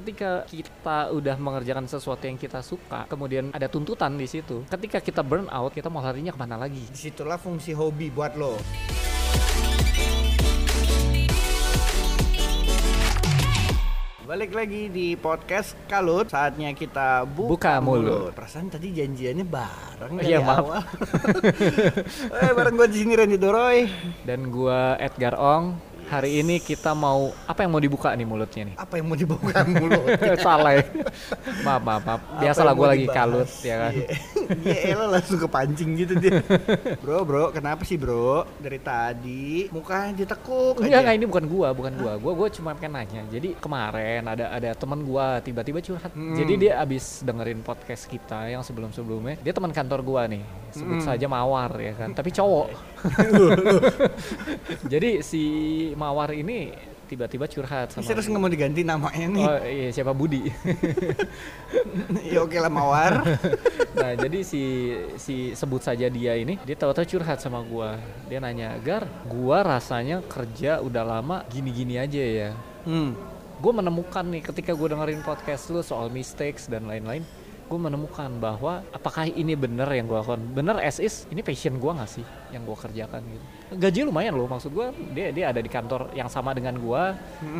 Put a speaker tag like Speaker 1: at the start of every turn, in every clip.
Speaker 1: Ketika kita udah mengerjakan sesuatu yang kita suka, kemudian ada tuntutan di situ. Ketika kita burn out, kita mau larinya kemana lagi?
Speaker 2: Disitulah fungsi hobi buat lo. Balik lagi di podcast Kalut, saatnya kita buka,
Speaker 1: Buka mulut.
Speaker 2: Perasaan tadi janjiannya bareng
Speaker 1: Iya,
Speaker 2: dari
Speaker 1: maaf.
Speaker 2: awal. Eh, bareng gue di sini Randy Doroy.
Speaker 1: Dan gua Edgar Ong, hari ini kita mau apa yang mau dibuka nih mulutnya nih?
Speaker 2: Apa yang mau dibuka mulut?
Speaker 1: Salah ya. Maaf, maaf, maaf.
Speaker 2: Apa
Speaker 1: Biasalah
Speaker 2: yang
Speaker 1: gua
Speaker 2: mau
Speaker 1: lagi
Speaker 2: dibahas?
Speaker 1: kalut ya kan.
Speaker 2: Iya. Iya, elah langsung kepancing gitu dia. Bro, bro, kenapa sih bro? Dari tadi mukanya ditekuk
Speaker 1: Enggak,
Speaker 2: aja.
Speaker 1: enggak, ini bukan gua, bukan gua. Gua gua cuma pengen nanya. Jadi kemarin ada ada teman gua tiba-tiba curhat.
Speaker 2: Hmm.
Speaker 1: Jadi dia abis dengerin podcast kita yang sebelum-sebelumnya. Dia teman kantor gua nih.
Speaker 2: Hmm.
Speaker 1: Sebut saja Mawar ya kan. Tapi cowok. Jadi si Mawar ini tiba-tiba curhat
Speaker 2: Ini
Speaker 1: sama
Speaker 2: Serius nggak mau diganti namanya nih?
Speaker 1: Oh iya siapa Budi.
Speaker 2: ya oke lah mawar.
Speaker 1: nah, jadi si si sebut saja dia ini dia tahu-tahu curhat sama gua. Dia nanya, "Gar, gua rasanya kerja udah lama gini-gini aja ya."
Speaker 2: Hmm.
Speaker 1: gue menemukan nih ketika gue dengerin podcast lu soal mistakes dan lain-lain gue menemukan bahwa apakah ini bener yang gue lakukan bener as is ini passion gue gak sih yang gue kerjakan gitu gaji lumayan loh maksud gue dia dia ada di kantor yang sama dengan gue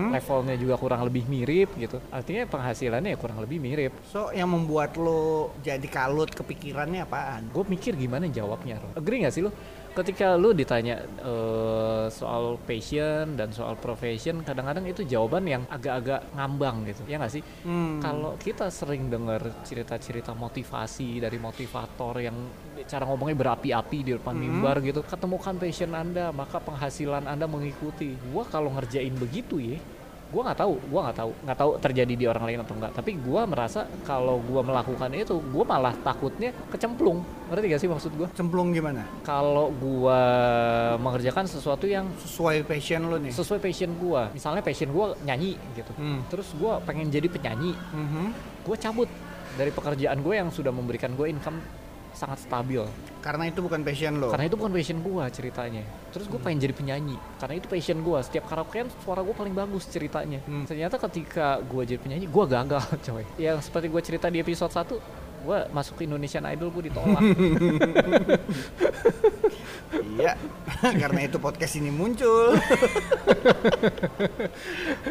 Speaker 1: levelnya juga kurang lebih mirip gitu artinya penghasilannya ya kurang lebih mirip
Speaker 2: So yang membuat lo jadi kalut kepikirannya apaan?
Speaker 1: gue mikir gimana jawabnya Ron. agree gak sih lo ketika lu ditanya eh, soal passion dan soal profession kadang-kadang itu jawaban yang agak-agak ngambang gitu ya gak sih
Speaker 2: Hmm.
Speaker 1: Kalau kita sering dengar cerita-cerita motivasi dari motivator yang cara ngomongnya berapi-api di depan mimbar gitu, ketemukan passion Anda, maka penghasilan Anda mengikuti. Gua kalau ngerjain begitu ya, gua nggak tahu, gua nggak tahu, nggak tahu terjadi di orang lain atau enggak. Tapi gua merasa kalau gua melakukan itu, gua malah takutnya kecemplung. Ngerti gak sih maksud gua?
Speaker 2: cemplung gimana?
Speaker 1: Kalau gua mengerjakan sesuatu yang
Speaker 2: Sesuai passion lo nih.
Speaker 1: sesuai passion gua, misalnya passion gua nyanyi gitu.
Speaker 2: Hmm.
Speaker 1: Terus gua pengen jadi penyanyi,
Speaker 2: Mhm.
Speaker 1: gue cabut dari pekerjaan gue yang sudah memberikan gue income sangat stabil
Speaker 2: Karena itu bukan passion lo.
Speaker 1: karena itu bukan passion gue ceritanya terus
Speaker 2: Hmm.
Speaker 1: gue pengen jadi penyanyi karena itu passion gue setiap karaokean suara gue paling bagus ceritanya
Speaker 2: Hmm.
Speaker 1: ternyata ketika gue jadi penyanyi gue gagal coy yang seperti gue cerita di episode 1 gue masuk ke Indonesian Idol gue ditolak
Speaker 2: Iya. Karena itu podcast ini muncul.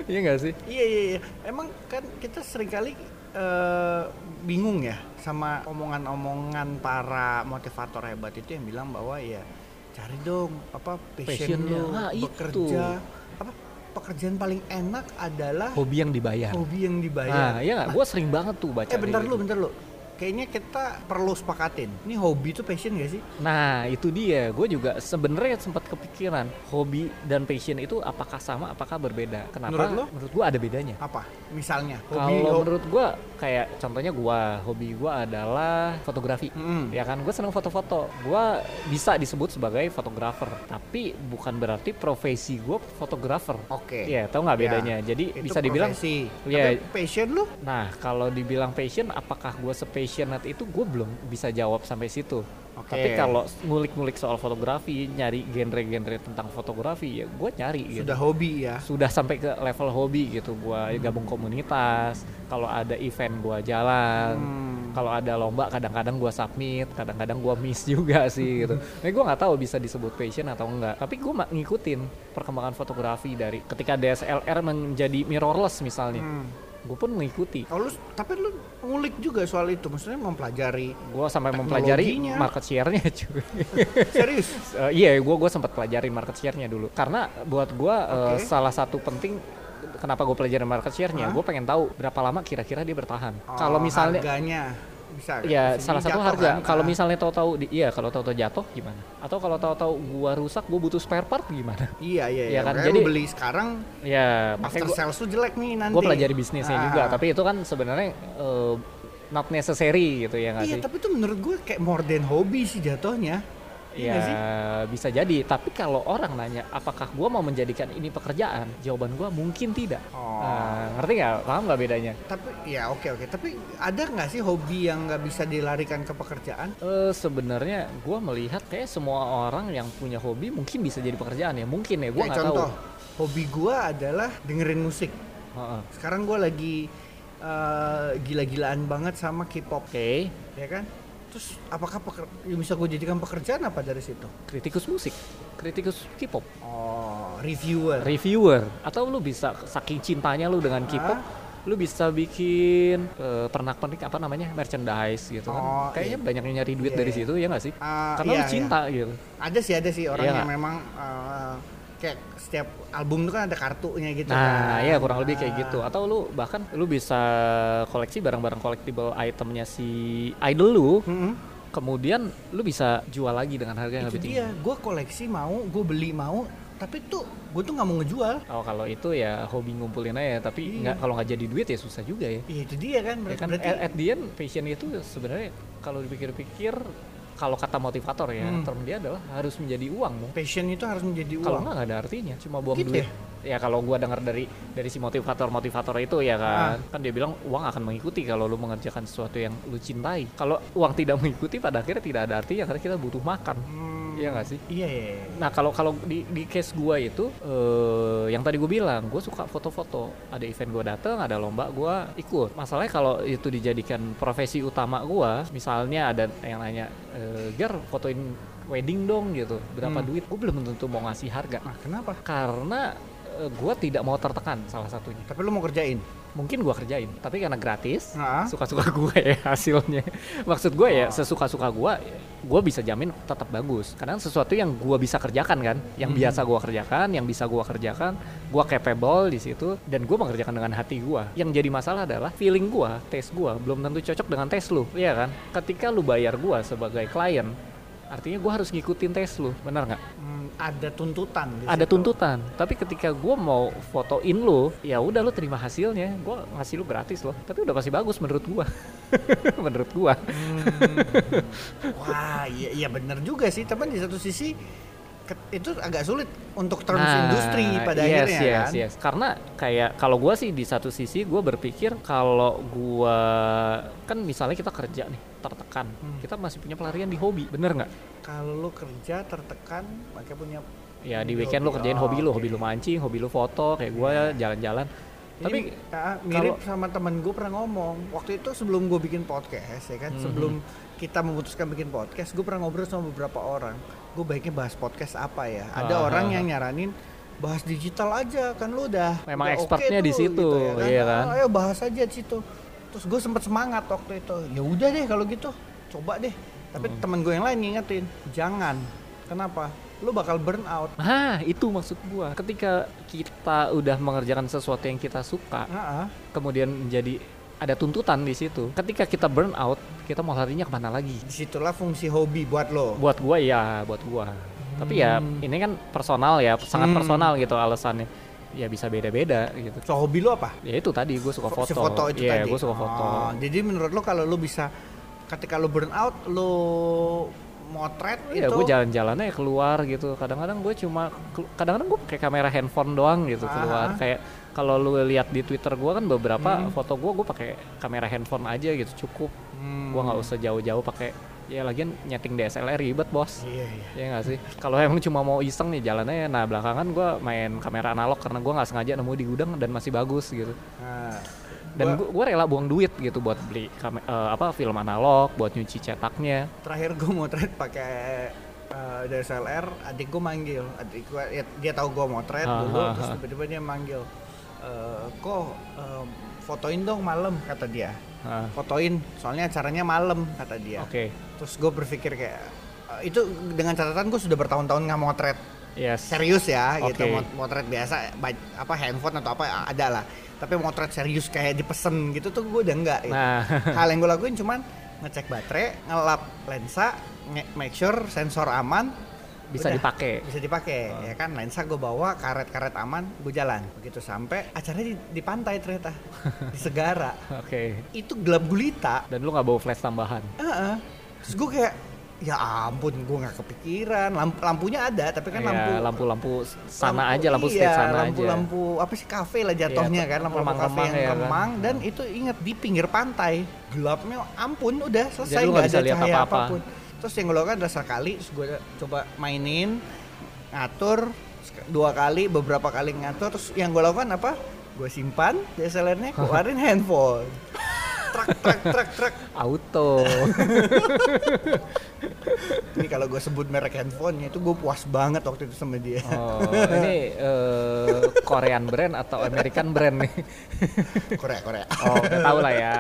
Speaker 1: iya gak sih
Speaker 2: iya iya iya. Emang kan kita seringkali eh, bingung ya sama omongan-omongan para motivator hebat itu yang bilang bahwa ya cari dong apa passion,
Speaker 1: Passionnya.
Speaker 2: lo,
Speaker 1: Nah, itu.
Speaker 2: bekerja apa pekerjaan paling enak adalah
Speaker 1: hobi yang dibayar
Speaker 2: hobi yang
Speaker 1: nah
Speaker 2: dibayar.
Speaker 1: iya gak gue sering banget tuh baca
Speaker 2: Oh, Eh bentar
Speaker 1: kayak
Speaker 2: lu,
Speaker 1: gitu.
Speaker 2: bentar lu. Kayaknya kita perlu sepakatin. Ini hobi itu passion gak sih?
Speaker 1: Nah itu dia, gue juga sebenarnya sempat kepikiran hobi dan passion itu apakah sama, apakah berbeda? Kenapa?
Speaker 2: Menurut lo?
Speaker 1: Menurut gue ada bedanya.
Speaker 2: Apa? Misalnya hobi oh.
Speaker 1: Kalau
Speaker 2: ho-
Speaker 1: menurut gua kayak contohnya gua hobi gua adalah fotografi.
Speaker 2: Mm-mm.
Speaker 1: Ya kan gua seneng foto-foto. Gua bisa disebut sebagai fotografer, tapi bukan berarti profesi gua fotografer.
Speaker 2: Oke. Ya,
Speaker 1: Iya, tahu nggak bedanya? Jadi
Speaker 2: Itu
Speaker 1: bisa dibilang
Speaker 2: profesi.
Speaker 1: Iya.
Speaker 2: Tapi passion lu?
Speaker 1: Nah, kalau dibilang passion, apakah gue sepassionate itu? Gue belum bisa jawab sampai situ.
Speaker 2: Oke.
Speaker 1: Tapi kalau ngulik-ngulik soal fotografi, nyari genre-genre tentang fotografi, ya gue nyari. gitu
Speaker 2: Sudah hobi ya.
Speaker 1: sudah sampai ke level hobi gitu gua gabung komunitas kalau ada event gua jalan
Speaker 2: Hmm.
Speaker 1: kalau ada lomba kadang-kadang gua submit kadang-kadang gua miss juga sih gitu tapi gua nggak tahu bisa disebut passion atau enggak tapi gua ma- ngikutin perkembangan fotografi dari ketika DSLR menjadi mirrorless misalnya
Speaker 2: Hmm.
Speaker 1: gue pun mengikuti
Speaker 2: Kalau lu, tapi lu ngulik juga soal itu, maksudnya mempelajari.
Speaker 1: gua sampai mempelajari
Speaker 2: Teknologinya.
Speaker 1: market share-nya cuy
Speaker 2: Serius?
Speaker 1: Eh, iya, gue gua sempat pelajarin market share-nya dulu. Karena buat gue
Speaker 2: Oke.
Speaker 1: salah satu penting kenapa gue pelajarin market share-nya,
Speaker 2: Hah?
Speaker 1: gue pengen tahu berapa lama kira-kira dia bertahan.
Speaker 2: Oh,
Speaker 1: kalau misalnya
Speaker 2: harganya bisa.
Speaker 1: ya
Speaker 2: Bisa
Speaker 1: salah
Speaker 2: jadi
Speaker 1: satu
Speaker 2: jatuh
Speaker 1: harga.
Speaker 2: kan?
Speaker 1: Kalau
Speaker 2: Ah.
Speaker 1: misalnya tahu-tahu di- iya kalau tahu-tahu jatuh gimana? Atau kalau tahu-tahu gua rusak, gue butuh spare part gimana?
Speaker 2: Iya iya.
Speaker 1: Iya
Speaker 2: iya
Speaker 1: kan,
Speaker 2: kan?
Speaker 1: jadi-
Speaker 2: Jadi beli sekarang
Speaker 1: ya,
Speaker 2: after
Speaker 1: makanya
Speaker 2: sales tuh jelek nih nanti.
Speaker 1: gue pelajari bisnisnya
Speaker 2: Ah.
Speaker 1: juga, tapi itu kan sebenarnya eh, not necessary gitu ya nggak
Speaker 2: Iya,
Speaker 1: sih?
Speaker 2: tapi itu menurut gue kayak more than hobi sih jatuhnya.
Speaker 1: Ya
Speaker 2: Iya nggak sih?
Speaker 1: bisa jadi, tapi kalau orang nanya apakah gue mau menjadikan ini pekerjaan, jawaban gue mungkin tidak.
Speaker 2: Oh.
Speaker 1: Nah, ngerti nggak? Paham nggak bedanya?
Speaker 2: Tapi ya oke oke. Tapi ada nggak sih hobi yang nggak bisa dilarikan ke pekerjaan?
Speaker 1: Eh Sebenarnya gue melihat kayak semua orang yang punya hobi mungkin bisa jadi pekerjaan ya, mungkin ya gue nggak
Speaker 2: Kayak
Speaker 1: tahu.
Speaker 2: Hobi gue adalah dengerin musik.
Speaker 1: Heeh.
Speaker 2: Sekarang gue lagi eh, gila-gilaan banget sama K-pop ya kan terus apakah peker- yang bisa gue jadikan pekerjaan apa dari situ
Speaker 1: kritikus musik, kritikus K-pop,
Speaker 2: oh reviewer
Speaker 1: reviewer, atau lu bisa saking cintanya lu dengan K-pop,
Speaker 2: Ah.
Speaker 1: lu bisa bikin eh, pernak-pernik apa namanya merchandise gitu kan.
Speaker 2: Oh,
Speaker 1: Kayaknya
Speaker 2: iya.
Speaker 1: banyak yang nyari duit
Speaker 2: Iya,
Speaker 1: dari
Speaker 2: iya.
Speaker 1: situ ya nggak sih?
Speaker 2: Ah,
Speaker 1: Karena
Speaker 2: iya,
Speaker 1: lu
Speaker 2: iya.
Speaker 1: cinta gitu.
Speaker 2: ada sih ada sih orang
Speaker 1: Iya
Speaker 2: yang
Speaker 1: nggak?
Speaker 2: memang eh, kayak setiap album tuh kan ada kartunya gitu
Speaker 1: Nah,
Speaker 2: kan.
Speaker 1: ya kurang lebih
Speaker 2: Ah,
Speaker 1: kayak gitu. Atau lu bahkan lu bisa koleksi barang-barang collectible itemnya si idol lu,
Speaker 2: mm-mm.
Speaker 1: kemudian lu bisa jual lagi dengan harga yang
Speaker 2: itu
Speaker 1: lebih tinggi.
Speaker 2: dia gue koleksi mau gue beli mau tapi tuh gue tuh nggak mau ngejual
Speaker 1: Oh, kalau itu ya hobi ngumpulin aja, tapi nggak kalau nggak jadi duit ya susah juga ya.
Speaker 2: Iya itu dia
Speaker 1: Ya
Speaker 2: kan mereka
Speaker 1: kan,
Speaker 2: berarti
Speaker 1: at, at the end passion itu sebenarnya kalau dipikir-pikir kalau kata motivator ya,
Speaker 2: Hmm.
Speaker 1: term dia adalah harus menjadi uang. Mo.
Speaker 2: passion itu harus menjadi uang.
Speaker 1: Kalau nggak nggak ada artinya, cuma buang
Speaker 2: Gitu
Speaker 1: duit. Ya kalau gua dengar dari dari si motivator-motivator itu ya
Speaker 2: Ah.
Speaker 1: kan, kan dia bilang uang akan mengikuti kalau lu mengerjakan sesuatu yang lu cintai. Kalau uang tidak mengikuti pada akhirnya tidak ada artinya karena kita butuh makan.
Speaker 2: Hmm,
Speaker 1: Iya nggak sih?
Speaker 2: Iya iya. iya.
Speaker 1: Nah kalau kalau di, di case gua itu eh, yang tadi gue bilang gue suka foto-foto ada event gue dateng ada lomba gua ikut masalahnya kalau itu dijadikan profesi utama gua misalnya ada yang nanya eh Ger fotoin wedding dong gitu berapa
Speaker 2: Hmm.
Speaker 1: duit gue belum tentu mau ngasih harga
Speaker 2: Nah kenapa?
Speaker 1: karena eh, gua tidak mau tertekan salah satunya
Speaker 2: Tapi lu mau kerjain?
Speaker 1: mungkin gua kerjain tapi karena gratis
Speaker 2: Ah.
Speaker 1: suka-suka gue ya hasilnya maksud gue ya
Speaker 2: Oh.
Speaker 1: sesuka-suka gue gue bisa jamin tetap bagus karena sesuatu yang gue bisa kerjakan kan yang
Speaker 2: Hmm.
Speaker 1: biasa gue kerjakan yang bisa gue kerjakan gue capable di situ dan gue mengerjakan dengan hati gue yang jadi masalah adalah feeling gue tes gue belum tentu cocok dengan tes lu Iya kan ketika lu bayar gue sebagai klien artinya gue harus ngikutin tes lu benar nggak
Speaker 2: Hmm, ada tuntutan. di
Speaker 1: ada
Speaker 2: situ.
Speaker 1: tuntutan tapi ketika gue mau fotoin lu ya udah lu terima hasilnya gue ngasih lu gratis loh tapi udah pasti bagus menurut gue menurut gue
Speaker 2: Hmm. Wah iya iya benar juga sih. Tapi di satu sisi ke- itu agak sulit untuk terms industri pada
Speaker 1: Nah, yes,
Speaker 2: akhirnya
Speaker 1: yes,
Speaker 2: kan.
Speaker 1: yes. Karena kayak kalau gua sih di satu sisi gua berpikir kalau gua kan misalnya kita kerja nih tertekan,
Speaker 2: Hmm.
Speaker 1: kita masih punya pelarian di hobi, bener nggak?
Speaker 2: Kalau lu kerja tertekan, makanya punya.
Speaker 1: Ya di
Speaker 2: Di
Speaker 1: weekend lo
Speaker 2: hobi,
Speaker 1: kerjain
Speaker 2: oh,
Speaker 1: hobi lo,
Speaker 2: oke. Iya.
Speaker 1: hobi lo mancing, hobi lo foto, kayak gua jalan-jalan. Tapi eh,
Speaker 2: Ini, ah, mirip sama temen gue pernah ngomong. Waktu itu sebelum gue bikin podcast ya kan,
Speaker 1: Mhm.
Speaker 2: sebelum kita memutuskan bikin podcast, gue pernah ngobrol sama beberapa orang. Gue baiknya bahas podcast apa ya? Ada
Speaker 1: Ah,
Speaker 2: orang
Speaker 1: ah,
Speaker 2: yang nyaranin bahas digital aja kan lu udah
Speaker 1: Memang
Speaker 2: udah oke
Speaker 1: expertnya di
Speaker 2: tuh,
Speaker 1: situ, iya kan?
Speaker 2: Ah, ayo bahas aja di situ terus gue sempet semangat waktu itu ya udah deh kalau gitu coba deh tapi
Speaker 1: Mm-hmm.
Speaker 2: temen gue yang lain ngingetin jangan kenapa lu bakal burn out
Speaker 1: Hah, ah, itu maksud gua. Ketika kita udah mengerjakan sesuatu yang kita suka,
Speaker 2: Ah, ah.
Speaker 1: kemudian menjadi ada tuntutan di situ. Ketika kita burn out, kita mau larinya kemana lagi?
Speaker 2: disitulah fungsi hobi buat lo
Speaker 1: buat gua ya buat gua tapi ya ini kan personal ya sangat
Speaker 2: Hmm.
Speaker 1: personal gitu alasannya ya bisa beda-beda gitu
Speaker 2: so hobi lo apa
Speaker 1: ya itu tadi gua suka
Speaker 2: Fo-
Speaker 1: foto
Speaker 2: si foto itu
Speaker 1: Iya,
Speaker 2: tadi.
Speaker 1: gua suka foto
Speaker 2: Oh, jadi menurut lo kalau lo bisa ketika lo burn out lo motret
Speaker 1: ya
Speaker 2: itu
Speaker 1: gua jalan-jalannya ya keluar gitu kadang-kadang gua cuma kelu- kadang-kadang gua pakai kamera handphone doang gitu
Speaker 2: Ah.
Speaker 1: keluar kayak kalau lu lihat di twitter gua kan beberapa foto gua gua pakai kamera handphone aja gitu cukup
Speaker 2: Hmm.
Speaker 1: gua nggak usah jauh-jauh pakai ya lagian nyeting DSLR ribet bos
Speaker 2: Iya iya.
Speaker 1: Iya nggak sih? Kalau emang cuma mau iseng nih jalannya, nah belakangan gue main kamera analog karena gue nggak sengaja nemu di gudang dan masih bagus gitu.
Speaker 2: Nah,
Speaker 1: Dan
Speaker 2: gua-
Speaker 1: gue rela buang duit gitu buat beli kame- eh, apa film analog, buat nyuci cetaknya.
Speaker 2: terakhir gue motret pakai eh, DSLR adik gue manggil adik gue dia tahu gue motret
Speaker 1: Ah,
Speaker 2: dulu
Speaker 1: ah,
Speaker 2: terus
Speaker 1: ah.
Speaker 2: tiba-tiba dia manggil "Eh, kok eh, fotoin dong malam kata dia
Speaker 1: Ah,
Speaker 2: fotoin soalnya acaranya malam kata dia
Speaker 1: Oke,
Speaker 2: terus gue berpikir kayak "Eh, itu dengan catatan gue sudah bertahun-tahun nggak motret
Speaker 1: yes.
Speaker 2: serius ya gitu
Speaker 1: Oke.
Speaker 2: mot- motret biasa ba- apa handphone atau apa a- ada lah tapi motret serius kayak dipesen gitu tuh gue udah enggak gitu.
Speaker 1: Nah,
Speaker 2: hal yang gue lakuin cuman ngecek baterai ngelap lensa nge- make sure sensor aman
Speaker 1: bisa
Speaker 2: udah,
Speaker 1: dipakai. Oh.
Speaker 2: bisa dipakai ya kan lensa gue bawa karet-karet aman gue jalan begitu sampai acaranya di, di pantai ternyata di Segara
Speaker 1: Oke.
Speaker 2: itu gelap gulita
Speaker 1: Dan lu nggak bawa flash tambahan.
Speaker 2: Heeh. terus gue kayak ya ampun gue nggak kepikiran Lamp- lampunya ada tapi kan
Speaker 1: Ya,
Speaker 2: lampu
Speaker 1: lampu-lampu sana aja, lampu
Speaker 2: iya,
Speaker 1: stage sana
Speaker 2: lampu,
Speaker 1: aja.
Speaker 2: Lampu apa sih kafe lah jatuhnya
Speaker 1: Iya,
Speaker 2: kan, lampu lampu kafe
Speaker 1: remang-remang
Speaker 2: yang
Speaker 1: ya kan.
Speaker 2: remang dan itu ingat di pinggir pantai. Gelapnya ampun udah
Speaker 1: Jadi
Speaker 2: selesai
Speaker 1: lu nggak
Speaker 2: nggak ada
Speaker 1: bisa lihat
Speaker 2: cahaya
Speaker 1: apa-apa.
Speaker 2: apapun. Terus yang gue lakukan adalah sekali terus gue coba mainin ngatur sek- dua kali beberapa kali ngatur terus yang gue lakukan apa gue simpan DSLR-nya keluarin handphone trak trak trak trak
Speaker 1: Auto.
Speaker 2: ini kalau gue sebut merek handphonenya itu gue puas banget waktu itu sama dia
Speaker 1: Oh, ini eh, Korean brand atau American brand nih?
Speaker 2: Korea Korea
Speaker 1: Oh, udah tahu lah ya.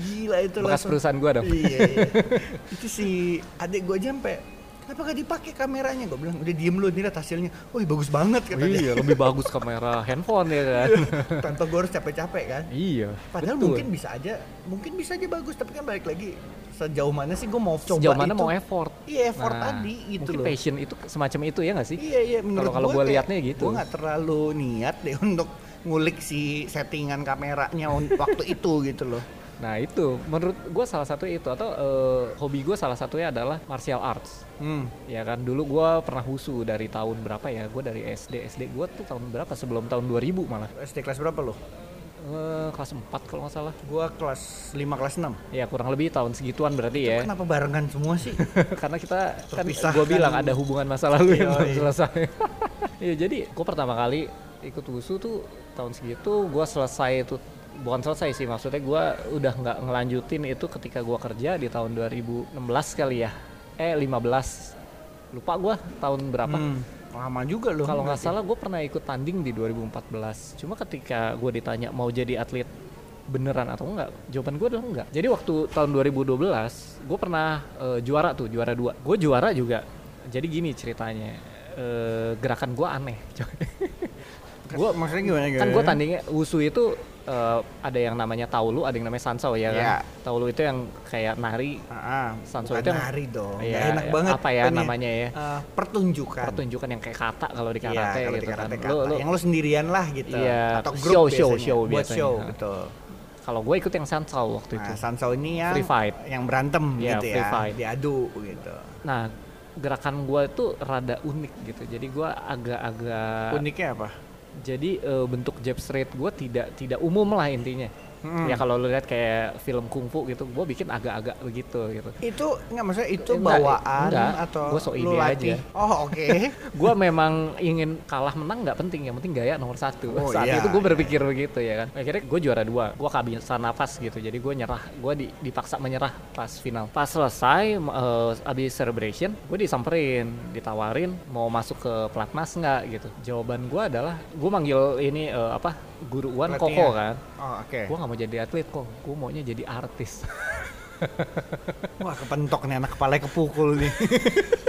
Speaker 2: gila itu
Speaker 1: Bekas
Speaker 2: langsung.
Speaker 1: perusahaan gua dong.
Speaker 2: iya, iya. itu si adik gue aja sampai kenapa gak dipakai kameranya gue bilang udah diem lu nih lihat hasilnya woi bagus banget kata dia
Speaker 1: Iya, lebih bagus kamera handphone ya kan.
Speaker 2: tanpa gue harus capek-capek kan
Speaker 1: iya.
Speaker 2: padahal
Speaker 1: betul.
Speaker 2: mungkin bisa aja mungkin bisa aja bagus tapi kan balik lagi sejauh mana sih gue mau coba
Speaker 1: sejauh mana
Speaker 2: itu.
Speaker 1: mau effort.
Speaker 2: iya effort
Speaker 1: Nah,
Speaker 2: tadi gitu
Speaker 1: mungkin
Speaker 2: loh
Speaker 1: passion itu semacam itu ya nggak sih?
Speaker 2: iya iya menurut
Speaker 1: kalau gua liatnya gitu.
Speaker 2: gue nggak terlalu niat deh untuk ngulik si settingan kameranya un- waktu itu gitu loh
Speaker 1: Nah itu, menurut gue salah satu itu atau eh, hobi gue salah satunya adalah martial arts.
Speaker 2: hmm.
Speaker 1: Ya kan dulu gue pernah husu dari tahun berapa ya? Gue dari SD SD gue tuh tahun berapa? Sebelum tahun 2000 malah.
Speaker 2: SD kelas berapa lo?
Speaker 1: Eh, kelas 4 kalau nggak salah.
Speaker 2: Gue kelas 5 kelas 6
Speaker 1: Ya kurang lebih tahun segituan berarti ya.
Speaker 2: Kenapa barengan semua sih?
Speaker 1: karena kita kan
Speaker 2: Terpisahkan.
Speaker 1: gue bilang ada hubungan masa lalu yang belum
Speaker 2: Yoi.
Speaker 1: selesai ya jadi gue pertama kali ikut wusu tuh tahun segitu gue selesai itu bukan selesai sih maksudnya gue udah nggak ngelanjutin itu ketika gue kerja di tahun 2016 kali ya eh 15 lupa gue tahun berapa
Speaker 2: Hmm, lama juga loh.
Speaker 1: kalau nggak salah gue pernah ikut tanding di 2014 cuma ketika gue ditanya mau jadi atlet beneran atau enggak jawaban gue adalah enggak jadi waktu tahun 2012 gue pernah eh, juara tuh juara dua gue juara juga jadi gini ceritanya eh, gerakan gue aneh
Speaker 2: Gua maksudnya gimana
Speaker 1: kan gue tandingnya wusu itu eh, ada yang namanya taulu ada yang namanya sansao ya kan
Speaker 2: Iya.
Speaker 1: taulu itu yang kayak nari
Speaker 2: Heeh.
Speaker 1: Sanso
Speaker 2: Ah, bukan
Speaker 1: itu yang-
Speaker 2: nari dong.
Speaker 1: Iya,
Speaker 2: Nggak Oh, enak
Speaker 1: iya.
Speaker 2: banget.
Speaker 1: apa ya
Speaker 2: pokoknya.
Speaker 1: namanya ya
Speaker 2: Eh, pertunjukan.
Speaker 1: pertunjukan yang kayak kata kalau di
Speaker 2: Iya,
Speaker 1: karate
Speaker 2: kalau
Speaker 1: gitu
Speaker 2: di karate
Speaker 1: kan
Speaker 2: kata.
Speaker 1: Lu- lu-
Speaker 2: Yang lo sendirian lah gitu.
Speaker 1: Iya,
Speaker 2: Atau
Speaker 1: show,
Speaker 2: grup
Speaker 1: show,
Speaker 2: biasanya.
Speaker 1: show
Speaker 2: Buat
Speaker 1: biasanya.
Speaker 2: show,
Speaker 1: Nah.
Speaker 2: betul.
Speaker 1: kalau gue ikut yang sansao waktu itu
Speaker 2: Nah, Sanso ini yang
Speaker 1: Free fight.
Speaker 2: yang berantem
Speaker 1: Iya,
Speaker 2: gitu ya.
Speaker 1: free fight.
Speaker 2: Diadu gitu.
Speaker 1: Nah, gerakan gua itu rada unik gitu. Jadi gua agak-agak
Speaker 2: Uniknya apa?
Speaker 1: Jadi eh, bentuk jab straight gua tidak tidak umum lah intinya.
Speaker 2: Mm.
Speaker 1: Ya kalau lu lihat kayak film kungfu gitu, gua bikin agak-agak begitu gitu.
Speaker 2: Itu nggak maksudnya itu
Speaker 1: Enggak,
Speaker 2: bawaan
Speaker 1: enggak.
Speaker 2: atau
Speaker 1: Gua sok
Speaker 2: lu
Speaker 1: ide
Speaker 2: latih?
Speaker 1: aja.
Speaker 2: Oh, oke.
Speaker 1: Gua memang ingin kalah menang nggak penting, yang penting gaya nomor satu.
Speaker 2: Oh,
Speaker 1: Saat
Speaker 2: iya,
Speaker 1: itu gua berpikir begitu ya kan. Akhirnya gua juara dua, gua kehabisan nafas gitu. Jadi gua nyerah, gua di- dipaksa menyerah pas final. Pas selesai eh, abis celebration, gua disamperin, ditawarin mau masuk ke pelatnas nggak gitu. Jawaban gua adalah, gua manggil ini eh, apa guru Wan
Speaker 2: Pelatihnya.
Speaker 1: Koko kan.
Speaker 2: Oh, oke.
Speaker 1: Gua nggak mau jadi atlet kok, gua maunya jadi artis.
Speaker 2: Wah, kepentok nih anak kepala kepukul nih.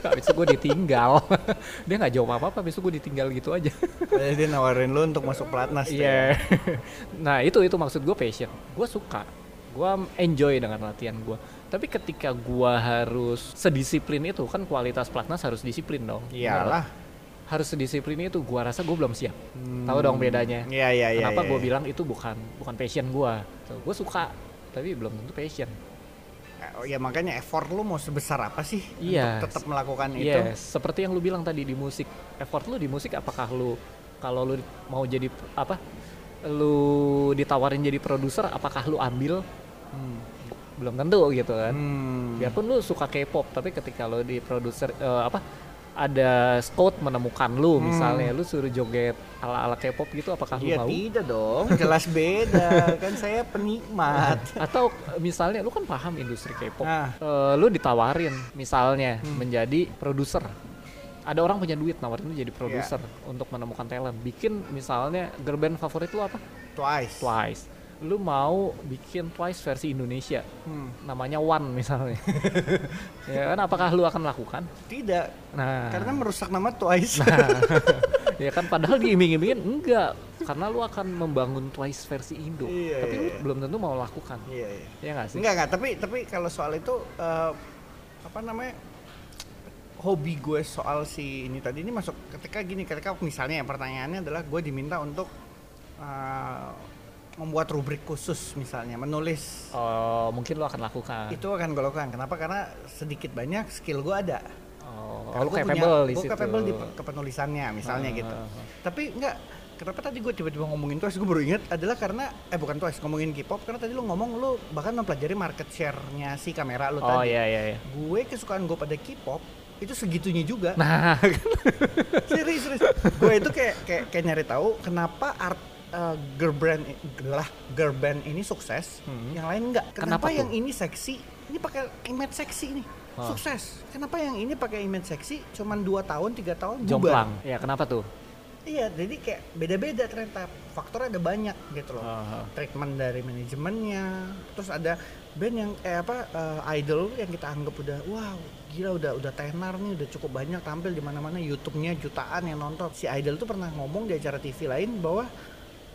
Speaker 1: habis itu gue ditinggal dia nggak jawab apa apa habis itu gue ditinggal gitu aja
Speaker 2: Padahal dia nawarin lu untuk masuk pelatnas. tuh ya.
Speaker 1: iya nah itu itu maksud gue passion gue suka gue enjoy dengan latihan gue tapi ketika gue harus sedisiplin itu kan kualitas pelatnas harus disiplin dong Bener.
Speaker 2: Iyalah.
Speaker 1: harus sedisiplin itu gue rasa gue belum siap Hmm. tahu dong bedanya
Speaker 2: Iya iya iya.
Speaker 1: kenapa
Speaker 2: iya.
Speaker 1: gue bilang itu bukan bukan passion gue gue suka tapi belum tentu passion
Speaker 2: Oh, ya makanya effort lu mau sebesar apa sih
Speaker 1: Iya.
Speaker 2: untuk tetap melakukan itu?
Speaker 1: Iya, seperti yang lu bilang tadi di musik. Effort lu di musik apakah lu kalau lu mau jadi p- apa? Lu ditawarin jadi produser apakah lu ambil?
Speaker 2: Hmm.
Speaker 1: Belum tentu gitu kan.
Speaker 2: Hmm.
Speaker 1: Biarpun lu suka K-pop, tapi ketika lu di produser eh, apa? ada scout menemukan lu
Speaker 2: Hmm.
Speaker 1: misalnya lu suruh joget ala-ala K-pop gitu apakah lu
Speaker 2: Iya,
Speaker 1: mau?
Speaker 2: tidak dong, jelas beda. kan saya penikmat.
Speaker 1: Atau eh, misalnya lu kan paham industri K-pop.
Speaker 2: Nah.
Speaker 1: Eh, lu ditawarin misalnya
Speaker 2: Hmm.
Speaker 1: menjadi produser. Ada orang punya duit nawarin lu jadi
Speaker 2: Iya.
Speaker 1: produser untuk menemukan talent. Bikin misalnya girl band favorit lu apa?
Speaker 2: Twice.
Speaker 1: Twice. Lu mau bikin Twice versi Indonesia.
Speaker 2: Hmm.
Speaker 1: Namanya One misalnya. ya kan apakah lu akan lakukan?
Speaker 2: Tidak,
Speaker 1: Nah.
Speaker 2: karena kan merusak nama Twice.
Speaker 1: ya kan padahal diiming-imingin enggak karena lu akan membangun Twice versi Indo.
Speaker 2: Iya,
Speaker 1: Tapi lu
Speaker 2: iya.
Speaker 1: belum tentu mau lakukan.
Speaker 2: Iya, iya.
Speaker 1: Ya nggak sih?
Speaker 2: Enggak, enggak, tapi tapi kalau soal itu eh, apa namanya? hobi gue soal si ini tadi ini masuk ketika gini ketika misalnya ya, pertanyaannya adalah gue diminta untuk eh, membuat rubrik khusus misalnya menulis
Speaker 1: Oh, mungkin lu akan lakukan.
Speaker 2: itu akan gue lakukan kenapa karena sedikit banyak skill gue ada
Speaker 1: Oh,
Speaker 2: Karena
Speaker 1: lu
Speaker 2: gua punya-
Speaker 1: capable di
Speaker 2: gua
Speaker 1: situ.
Speaker 2: capable di pe- kepenulisannya misalnya
Speaker 1: Ah,
Speaker 2: gitu
Speaker 1: ah, ah.
Speaker 2: tapi enggak kenapa tadi gue tiba-tiba ngomongin twice gue baru inget adalah karena eh bukan twice ngomongin K-pop karena tadi lu ngomong lu bahkan mempelajari market share-nya si kamera lu
Speaker 1: Oh
Speaker 2: tadi
Speaker 1: iya iya iya.
Speaker 2: gue kesukaan gue pada K-pop itu segitunya juga
Speaker 1: Nah,
Speaker 2: serius serius gue itu kayak kayak kayak nyari tahu kenapa art eh, girl brand i- lah girl band ini sukses
Speaker 1: Hmm.
Speaker 2: yang lain enggak
Speaker 1: Kenapa
Speaker 2: kenapa,
Speaker 1: tuh?
Speaker 2: yang ini seksi ini pakai image seksi nih
Speaker 1: Ah.
Speaker 2: sukses kenapa yang ini pakai image seksi cuman 2 tahun tiga tahun bubar
Speaker 1: jomplang. Ya, kenapa tuh?
Speaker 2: iya jadi kayak beda-beda ternyata faktornya ada banyak gitu loh
Speaker 1: Oh,
Speaker 2: treatment dari manajemennya terus ada band yang eh apa eh, idol yang kita anggap udah wow gila udah udah tenar nih udah cukup banyak tampil di mana-mana YouTube-nya jutaan yang nonton si idol tuh pernah ngomong di acara TV lain bahwa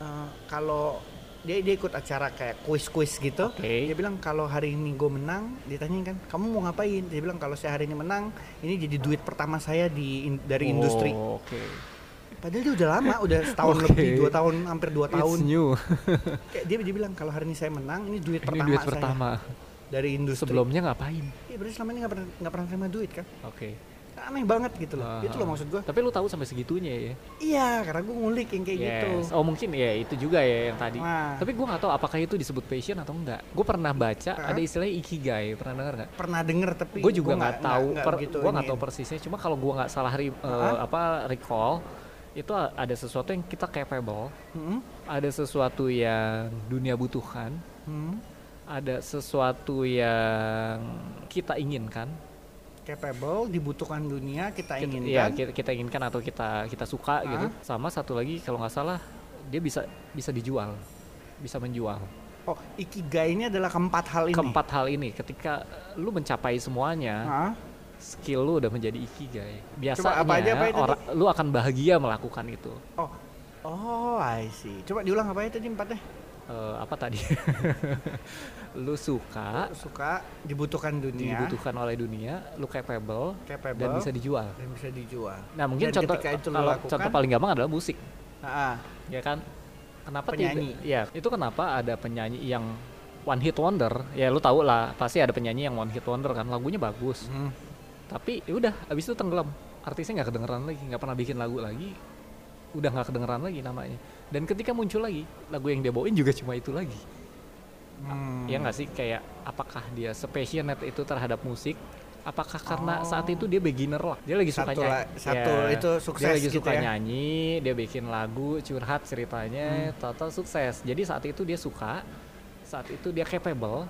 Speaker 2: eh, kalau dia dia ikut acara kayak kuis-kuis gitu
Speaker 1: Oke.
Speaker 2: dia bilang kalau hari ini gue menang ditanyain kan kamu mau ngapain dia bilang kalau saya hari ini menang ini jadi duit pertama saya di in- dari industri
Speaker 1: Oh, Oke.
Speaker 2: padahal dia udah lama udah setahun
Speaker 1: Oke.
Speaker 2: lebih dua tahun hampir dua tahun
Speaker 1: It's new.
Speaker 2: Kayak dia dia bilang kalau hari ini saya menang ini duit
Speaker 1: Ini
Speaker 2: pertama
Speaker 1: duit
Speaker 2: saya
Speaker 1: pertama.
Speaker 2: dari industri.
Speaker 1: Sebelumnya ngapain?
Speaker 2: Iya berarti selama ini nggak pernah nggak pernah terima duit kan?
Speaker 1: Oke.
Speaker 2: Aneh banget gitu loh.
Speaker 1: Ah,
Speaker 2: Itu loh maksud gue.
Speaker 1: Tapi lu tahu sampai segitunya ya.
Speaker 2: Iya karena gue ngulik yang kayak gitu.
Speaker 1: Yes. Oh mungkin ya itu juga ya yang tadi.
Speaker 2: Nah.
Speaker 1: Tapi gue nggak tahu apakah itu disebut passion atau enggak. Gue pernah baca
Speaker 2: Hah?
Speaker 1: ada istilahnya ikigai. Pernah dengar nggak?
Speaker 2: Pernah denger tapi
Speaker 1: Gue juga
Speaker 2: gua
Speaker 1: nggak tahu. Per,
Speaker 2: begitu
Speaker 1: gue nggak
Speaker 2: iniin.
Speaker 1: tahu persisnya. Cuma kalau gue nggak salah ri- eh,
Speaker 2: Hah?
Speaker 1: apa recall itu a- ada sesuatu yang kita capable,
Speaker 2: Mm-mm.
Speaker 1: ada sesuatu yang dunia butuhkan,
Speaker 2: Mm-mm.
Speaker 1: ada sesuatu yang kita inginkan.
Speaker 2: Capable dibutuhkan dunia kita
Speaker 1: Kita-
Speaker 2: inginkan.
Speaker 1: Iya, kita, kita inginkan atau kita kita suka
Speaker 2: Hah?
Speaker 1: gitu. Sama satu lagi kalau nggak salah dia bisa bisa dijual, bisa menjual.
Speaker 2: Oh ikigai ini adalah keempat hal ini.
Speaker 1: keempat hal ini ketika lu mencapai semuanya
Speaker 2: Hah?
Speaker 1: skill lu udah menjadi ikigai biasanya
Speaker 2: apa aja, apa itu
Speaker 1: ora- lu akan bahagia melakukan itu
Speaker 2: Oh oh I see. Coba diulang apa ya tadi empatnya?
Speaker 1: Eh, apa tadi lu suka
Speaker 2: Suka dibutuhkan dunia.
Speaker 1: dibutuhkan oleh dunia lu capable,
Speaker 2: Capable
Speaker 1: dan bisa dijual
Speaker 2: dan bisa dijual.
Speaker 1: nah mungkin
Speaker 2: Dan
Speaker 1: contoh
Speaker 2: ketika itu lu
Speaker 1: kalau
Speaker 2: lakukan,
Speaker 1: contoh paling gampang adalah musik
Speaker 2: ah, ah.
Speaker 1: ya kan kenapa
Speaker 2: Penyanyi.
Speaker 1: tidak ya itu kenapa ada penyanyi yang one hit wonder ya lu tau lah pasti ada penyanyi yang one hit wonder kan lagunya bagus
Speaker 2: Hmm.
Speaker 1: tapi ya udah abis itu tenggelam artisnya nggak kedengeran lagi nggak pernah bikin lagu lagi udah nggak kedengeran lagi namanya dan ketika muncul lagi lagu yang dia bawain juga cuma itu lagi
Speaker 2: Hmm.
Speaker 1: ya nggak sih kayak apakah dia sepassionate itu terhadap musik apakah karena
Speaker 2: Oh.
Speaker 1: saat itu dia beginner lah dia lagi suka
Speaker 2: Satu
Speaker 1: nyanyi Iya.
Speaker 2: la- satu itu sukses
Speaker 1: dia lagi
Speaker 2: gitu
Speaker 1: suka
Speaker 2: ya.
Speaker 1: nyanyi dia bikin lagu curhat
Speaker 2: Hmm.
Speaker 1: ceritanya total sukses jadi saat itu dia suka saat itu dia capable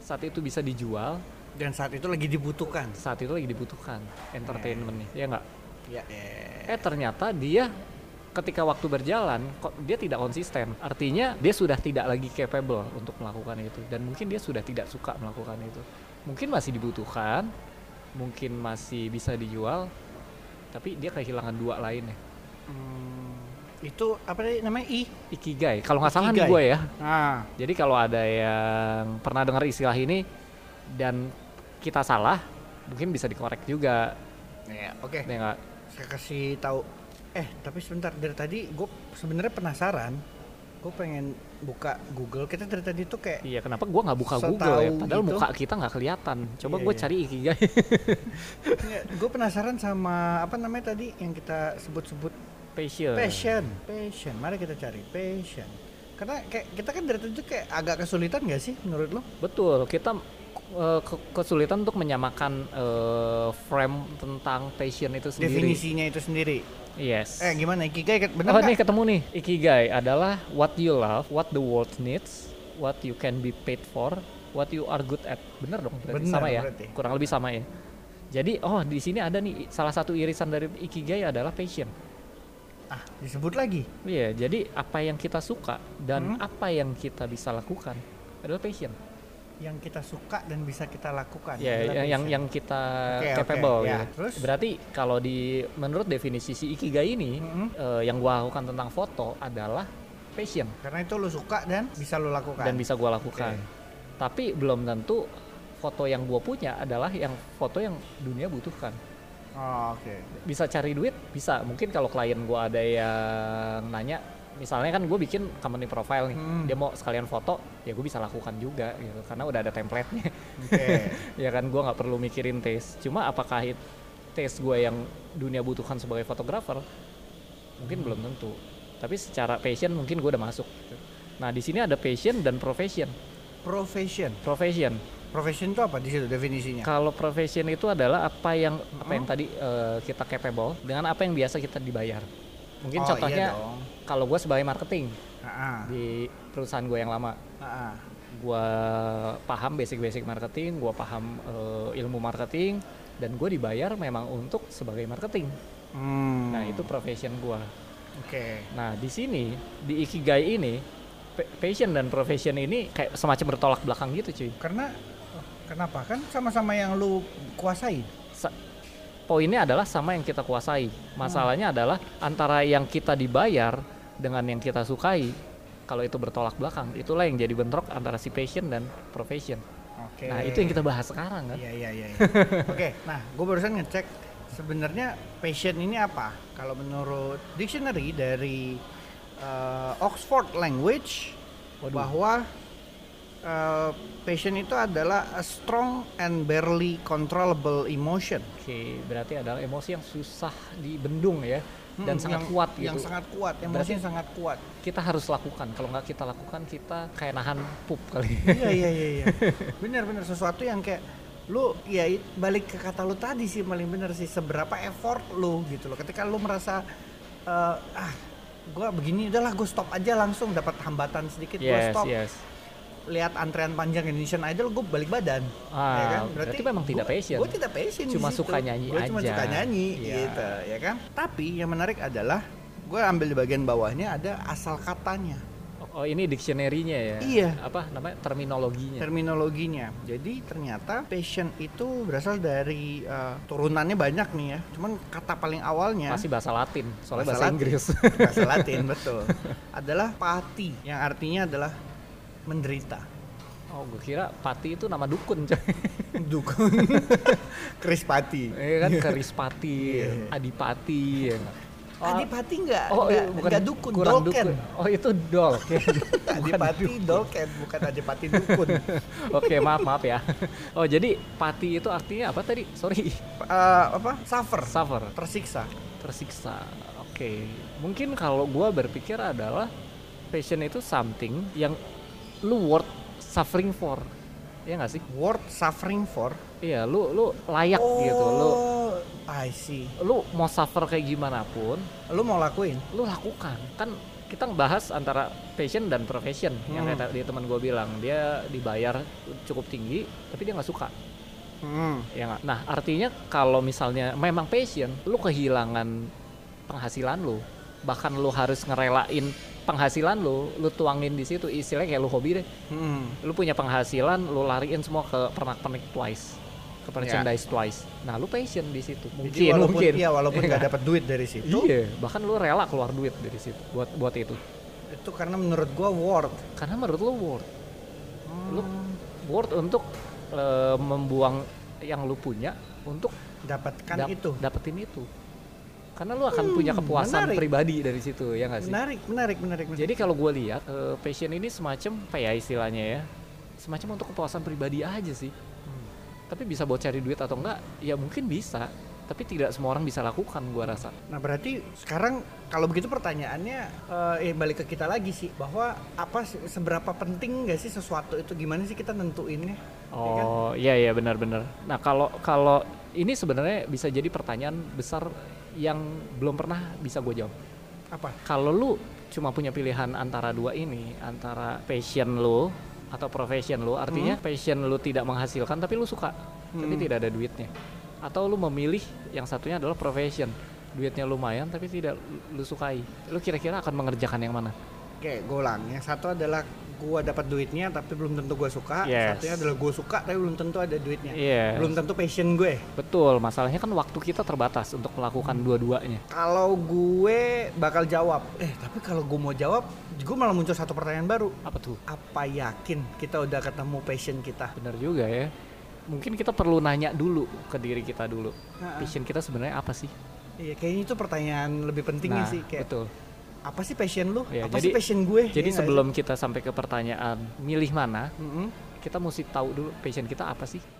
Speaker 1: saat itu bisa dijual
Speaker 2: dan saat itu lagi dibutuhkan.
Speaker 1: saat itu lagi dibutuhkan entertainmentnya ya nggak
Speaker 2: Ya. eh.
Speaker 1: Eh ternyata dia ketika waktu berjalan kok dia tidak konsisten. Artinya dia sudah tidak lagi capable untuk melakukan itu dan mungkin dia sudah tidak suka melakukan itu. Mungkin masih dibutuhkan, mungkin masih bisa dijual, tapi dia kehilangan dua lainnya.
Speaker 2: Hmm, itu apa tadi namanya i?
Speaker 1: Ikigai, kalau nggak salah nih
Speaker 2: Ikigai.
Speaker 1: gue ya.
Speaker 2: Ah,
Speaker 1: Jadi kalau ada yang pernah dengar istilah ini dan kita salah, mungkin bisa dikorek juga.
Speaker 2: ya oke.
Speaker 1: Ya nggak?
Speaker 2: Saya kasih tahu. Eh, tapi sebentar dari tadi gue sebenarnya penasaran. Gue pengen buka Google. Kita dari tadi tuh kayak
Speaker 1: Iya, kenapa gua nggak buka
Speaker 2: Setahu
Speaker 1: Google ya? Padahal
Speaker 2: gitu.
Speaker 1: muka kita nggak kelihatan. Coba
Speaker 2: Iya,
Speaker 1: gue
Speaker 2: iya.
Speaker 1: cari ikigai.
Speaker 2: gue penasaran sama apa namanya tadi yang kita sebut-sebut
Speaker 1: Passion.
Speaker 2: passion, passion. Mari kita cari passion. Karena kayak kita kan dari tadi tuh kayak agak kesulitan gak sih menurut lo?
Speaker 1: Betul, kita eh, ke- kesulitan untuk menyamakan eh, frame tentang passion itu sendiri.
Speaker 2: Definisinya itu sendiri.
Speaker 1: Yes.
Speaker 2: Eh gimana Ikigai
Speaker 1: oh,
Speaker 2: benar
Speaker 1: nih ketemu nih. Ikigai adalah what you love, what the world needs, what you can be paid for, what you are good at. Bener dong, berarti
Speaker 2: Bener
Speaker 1: sama ya.
Speaker 2: berarti.
Speaker 1: Kurang lebih sama ya. Jadi, oh di sini ada nih salah satu irisan dari ikigai adalah passion.
Speaker 2: Ah, disebut lagi.
Speaker 1: Iya, jadi apa yang kita suka dan
Speaker 2: Hmm.
Speaker 1: apa yang kita bisa lakukan adalah passion.
Speaker 2: yang kita suka dan bisa kita lakukan.
Speaker 1: Ya,
Speaker 2: Adalah
Speaker 1: yang, yang
Speaker 2: passion.
Speaker 1: yang kita
Speaker 2: Oke, oke,
Speaker 1: capable
Speaker 2: ya.
Speaker 1: gitu.
Speaker 2: Terus?
Speaker 1: Berarti kalau di menurut definisi si ikigai ini
Speaker 2: Mm-mm.
Speaker 1: eh, yang gua lakukan tentang foto adalah passion
Speaker 2: karena itu lu suka dan bisa lu lakukan.
Speaker 1: dan bisa gua lakukan. Tapi belum tentu foto yang gua punya adalah yang foto yang dunia butuhkan.
Speaker 2: Oh, oke.
Speaker 1: Bisa cari duit, bisa. Mungkin kalau klien gua ada yang nanya Misalnya kan gue bikin company profile nih,
Speaker 2: Hmm.
Speaker 1: dia mau sekalian foto, ya gue bisa lakukan juga gitu, karena udah ada template-nya.
Speaker 2: Oke.
Speaker 1: ya kan gua nggak perlu mikirin tes cuma apakah it- tes gue yang dunia butuhkan sebagai fotografer mungkin belum tentu tapi secara passion gitu. mungkin gue udah masuk nah di sini ada passion dan profession
Speaker 2: Profession.
Speaker 1: profession
Speaker 2: Profession itu apa di situ definisinya?
Speaker 1: Kalau profession itu adalah apa yang apa
Speaker 2: Hmm?
Speaker 1: yang tadi eh, kita capable dengan apa yang biasa kita dibayar. Mungkin
Speaker 2: Oh, iya
Speaker 1: contohnya
Speaker 2: dong.
Speaker 1: kalau gue sebagai marketing
Speaker 2: Ah, ah,
Speaker 1: di perusahaan gue yang lama,
Speaker 2: ah, ah.
Speaker 1: gue paham basic-basic marketing, gue paham eh, ilmu marketing, dan gue dibayar memang untuk sebagai marketing.
Speaker 2: Hmm,
Speaker 1: Nah itu profession gue.
Speaker 2: Oke.
Speaker 1: Nah di sini di ikigai ini pa- passion dan profession ini kayak semacam bertolak belakang gitu cuy.
Speaker 2: Karena oh, kenapa kan sama-sama yang lu kuasain.
Speaker 1: Sa- poinnya adalah sama yang kita kuasai. Masalahnya adalah antara yang kita dibayar dengan yang kita sukai. Kalau itu bertolak belakang, itulah yang jadi bentrok antara si passion dan profession.
Speaker 2: Oke.
Speaker 1: Nah, itu yang kita bahas sekarang kan.
Speaker 2: Iya iya iya. iya. Oke, nah gue barusan ngecek sebenarnya passion ini apa? Kalau menurut dictionary dari eh, Oxford Language
Speaker 1: Waduh.
Speaker 2: bahwa eh, passion itu adalah a strong and barely controllable emotion
Speaker 1: Oke, berarti adalah emosi yang susah dibendung ya dan
Speaker 2: Hmm,
Speaker 1: sangat
Speaker 2: yang-
Speaker 1: kuat gitu.
Speaker 2: Yang sangat kuat, emosi
Speaker 1: Berarti-
Speaker 2: yang sangat kuat.
Speaker 1: Kita harus lakukan. Kalau nggak kita lakukan, kita kayak nahan pup kali.
Speaker 2: iya iya iya iya benar benar sesuatu yang kayak lu ya i- balik ke kata lu tadi sih paling benar sih seberapa effort lu gitu loh ketika lu merasa eh, ah gue begini udahlah gue stop aja langsung dapat hambatan sedikit gue
Speaker 1: yes, iya.
Speaker 2: stop
Speaker 1: yes.
Speaker 2: lihat antrean panjang Indonesian Idol gue balik badan Ya kan?
Speaker 1: Ah, berarti memang tidak passion.
Speaker 2: gue tidak passion di
Speaker 1: Cuma
Speaker 2: situ.
Speaker 1: suka nyanyi
Speaker 2: Gua cuma
Speaker 1: aja.
Speaker 2: suka nyanyi
Speaker 1: Iya.
Speaker 2: gitu ya kan tapi yang menarik adalah gue ambil di bagian bawahnya ada asal katanya
Speaker 1: Oh, ini dictionary-nya ya.
Speaker 2: Iya.
Speaker 1: Apa namanya? Terminologinya.
Speaker 2: terminologinya. Jadi ternyata passion itu berasal dari eh, turunannya banyak nih ya. Cuman kata paling awalnya
Speaker 1: Pasti bahasa Latin, soalnya bahasa,
Speaker 2: Latin.
Speaker 1: Inggris.
Speaker 2: bahasa Latin betul. Adalah pati yang artinya adalah menderita.
Speaker 1: Oh, gue kira Pati itu nama dukun, coy.
Speaker 2: Dukun. Kris Pati.
Speaker 1: Iya kan Kerispati,
Speaker 2: Iya.
Speaker 1: Adipati. ya nggak? Oh,
Speaker 2: Adipati enggak,
Speaker 1: oh,
Speaker 2: enggak,
Speaker 1: iya, bukan
Speaker 2: dukun,
Speaker 1: kurang
Speaker 2: dolken.
Speaker 1: dukun. Oh, itu dolken.
Speaker 2: Adipati dolken, bukan Adipati dukun.
Speaker 1: Oke, maaf, maaf ya. Oh, jadi Pati itu artinya apa tadi? Sorry.
Speaker 2: Eh, apa? Suffer.
Speaker 1: Suffer,
Speaker 2: Tersiksa.
Speaker 1: tersiksa. Oke. Mungkin kalau gua berpikir adalah passion itu something yang lu worth suffering for. Iya nggak sih?
Speaker 2: Word suffering for.
Speaker 1: Iya, lu lu layak gitu, lu
Speaker 2: Oh, I see.
Speaker 1: lu mau suffer kayak gimana pun
Speaker 2: Lu mau lakuin?
Speaker 1: lu lakukan kan kita bahas antara passion dan profession yang
Speaker 2: Hmm.
Speaker 1: kayak tadi teman gue bilang dia dibayar cukup tinggi tapi dia nggak suka
Speaker 2: Hmm.
Speaker 1: ya nggak? nah artinya kalau misalnya memang passion lu kehilangan penghasilan lu bahkan lu harus ngerelain penghasilan lu lu tuangin di situ istilahnya kayak lu hobi deh
Speaker 2: Hmm.
Speaker 1: lu punya penghasilan lu lariin semua ke pernak-pernik twice ke merchandise twice nah lu passion di situ mungkin
Speaker 2: Ya. Jadi walaupun,
Speaker 1: mungkin
Speaker 2: Iya, walaupun
Speaker 1: Iya
Speaker 2: nggak
Speaker 1: nggak?
Speaker 2: dapat duit dari situ,
Speaker 1: Iya, bahkan lu rela keluar duit dari situ buat buat itu.
Speaker 2: itu karena menurut gua worth.
Speaker 1: Karena menurut lu worth, Lu-
Speaker 2: Hmm,
Speaker 1: worth untuk eh, membuang yang lu punya untuk
Speaker 2: dapatkan
Speaker 1: dap-
Speaker 2: Kan itu.
Speaker 1: dapetin itu. Karena lu akan
Speaker 2: Hmm,
Speaker 1: punya kepuasan
Speaker 2: menarik.
Speaker 1: pribadi dari situ, ya nggak sih?
Speaker 2: Menarik, menarik, menarik. menarik.
Speaker 1: Jadi kalau gue lihat eh, passion ini semacam apa ya istilahnya ya, semacam untuk kepuasan pribadi aja sih.
Speaker 2: Hmm.
Speaker 1: Tapi bisa buat cari duit atau enggak? Ya mungkin bisa, tapi tidak semua orang bisa lakukan gue rasa.
Speaker 2: Nah berarti sekarang kalau begitu pertanyaannya eh eh, balik ke kita lagi sih bahwa apa sih- seberapa penting nggak sih sesuatu itu gimana sih kita nentuinnya? Ya kan?
Speaker 1: Oh iya iya benar-benar. Nah kalau kalau ini sebenarnya bisa jadi pertanyaan besar yang belum pernah bisa gue jawab.
Speaker 2: Apa?
Speaker 1: Kalau lu cuma punya pilihan antara dua ini, antara passion lu atau profession lu, artinya passion lu tidak menghasilkan tapi lu suka, tapi
Speaker 2: Hmm.
Speaker 1: tidak ada duitnya. Atau lu memilih yang satunya adalah profession, duitnya lumayan tapi tidak lu sukai. Lu kira-kira akan mengerjakan yang mana?
Speaker 2: Oke, gue ulang. Yang satu adalah gua dapat duitnya tapi belum tentu gua suka.
Speaker 1: Yes.
Speaker 2: Satunya adalah gue suka tapi belum tentu ada duitnya.
Speaker 1: Iya.
Speaker 2: Belum tentu passion gue.
Speaker 1: Betul, masalahnya kan waktu kita terbatas untuk melakukan
Speaker 2: Hmm.
Speaker 1: dua-duanya.
Speaker 2: Kalau gue bakal jawab, eh tapi kalau gue mau jawab, gue malah muncul satu pertanyaan baru.
Speaker 1: Apa tuh?
Speaker 2: Apa yakin kita udah ketemu passion kita?
Speaker 1: Bener juga ya. Mungkin kita perlu nanya dulu ke diri kita dulu.
Speaker 2: Ha-ha.
Speaker 1: Passion kita sebenarnya apa sih? Nah,
Speaker 2: Iya, kayaknya itu pertanyaan lebih pentingnya sih. Kayak
Speaker 1: betul.
Speaker 2: apa sih passion lu?
Speaker 1: Ya,
Speaker 2: apa
Speaker 1: jadi-
Speaker 2: sih passion gue? Iya
Speaker 1: Jadi
Speaker 2: nggak
Speaker 1: sebelum kita sampai ke pertanyaan milih mana,
Speaker 2: sih? Mm-mm.
Speaker 1: kita mesti tahu dulu passion kita apa sih?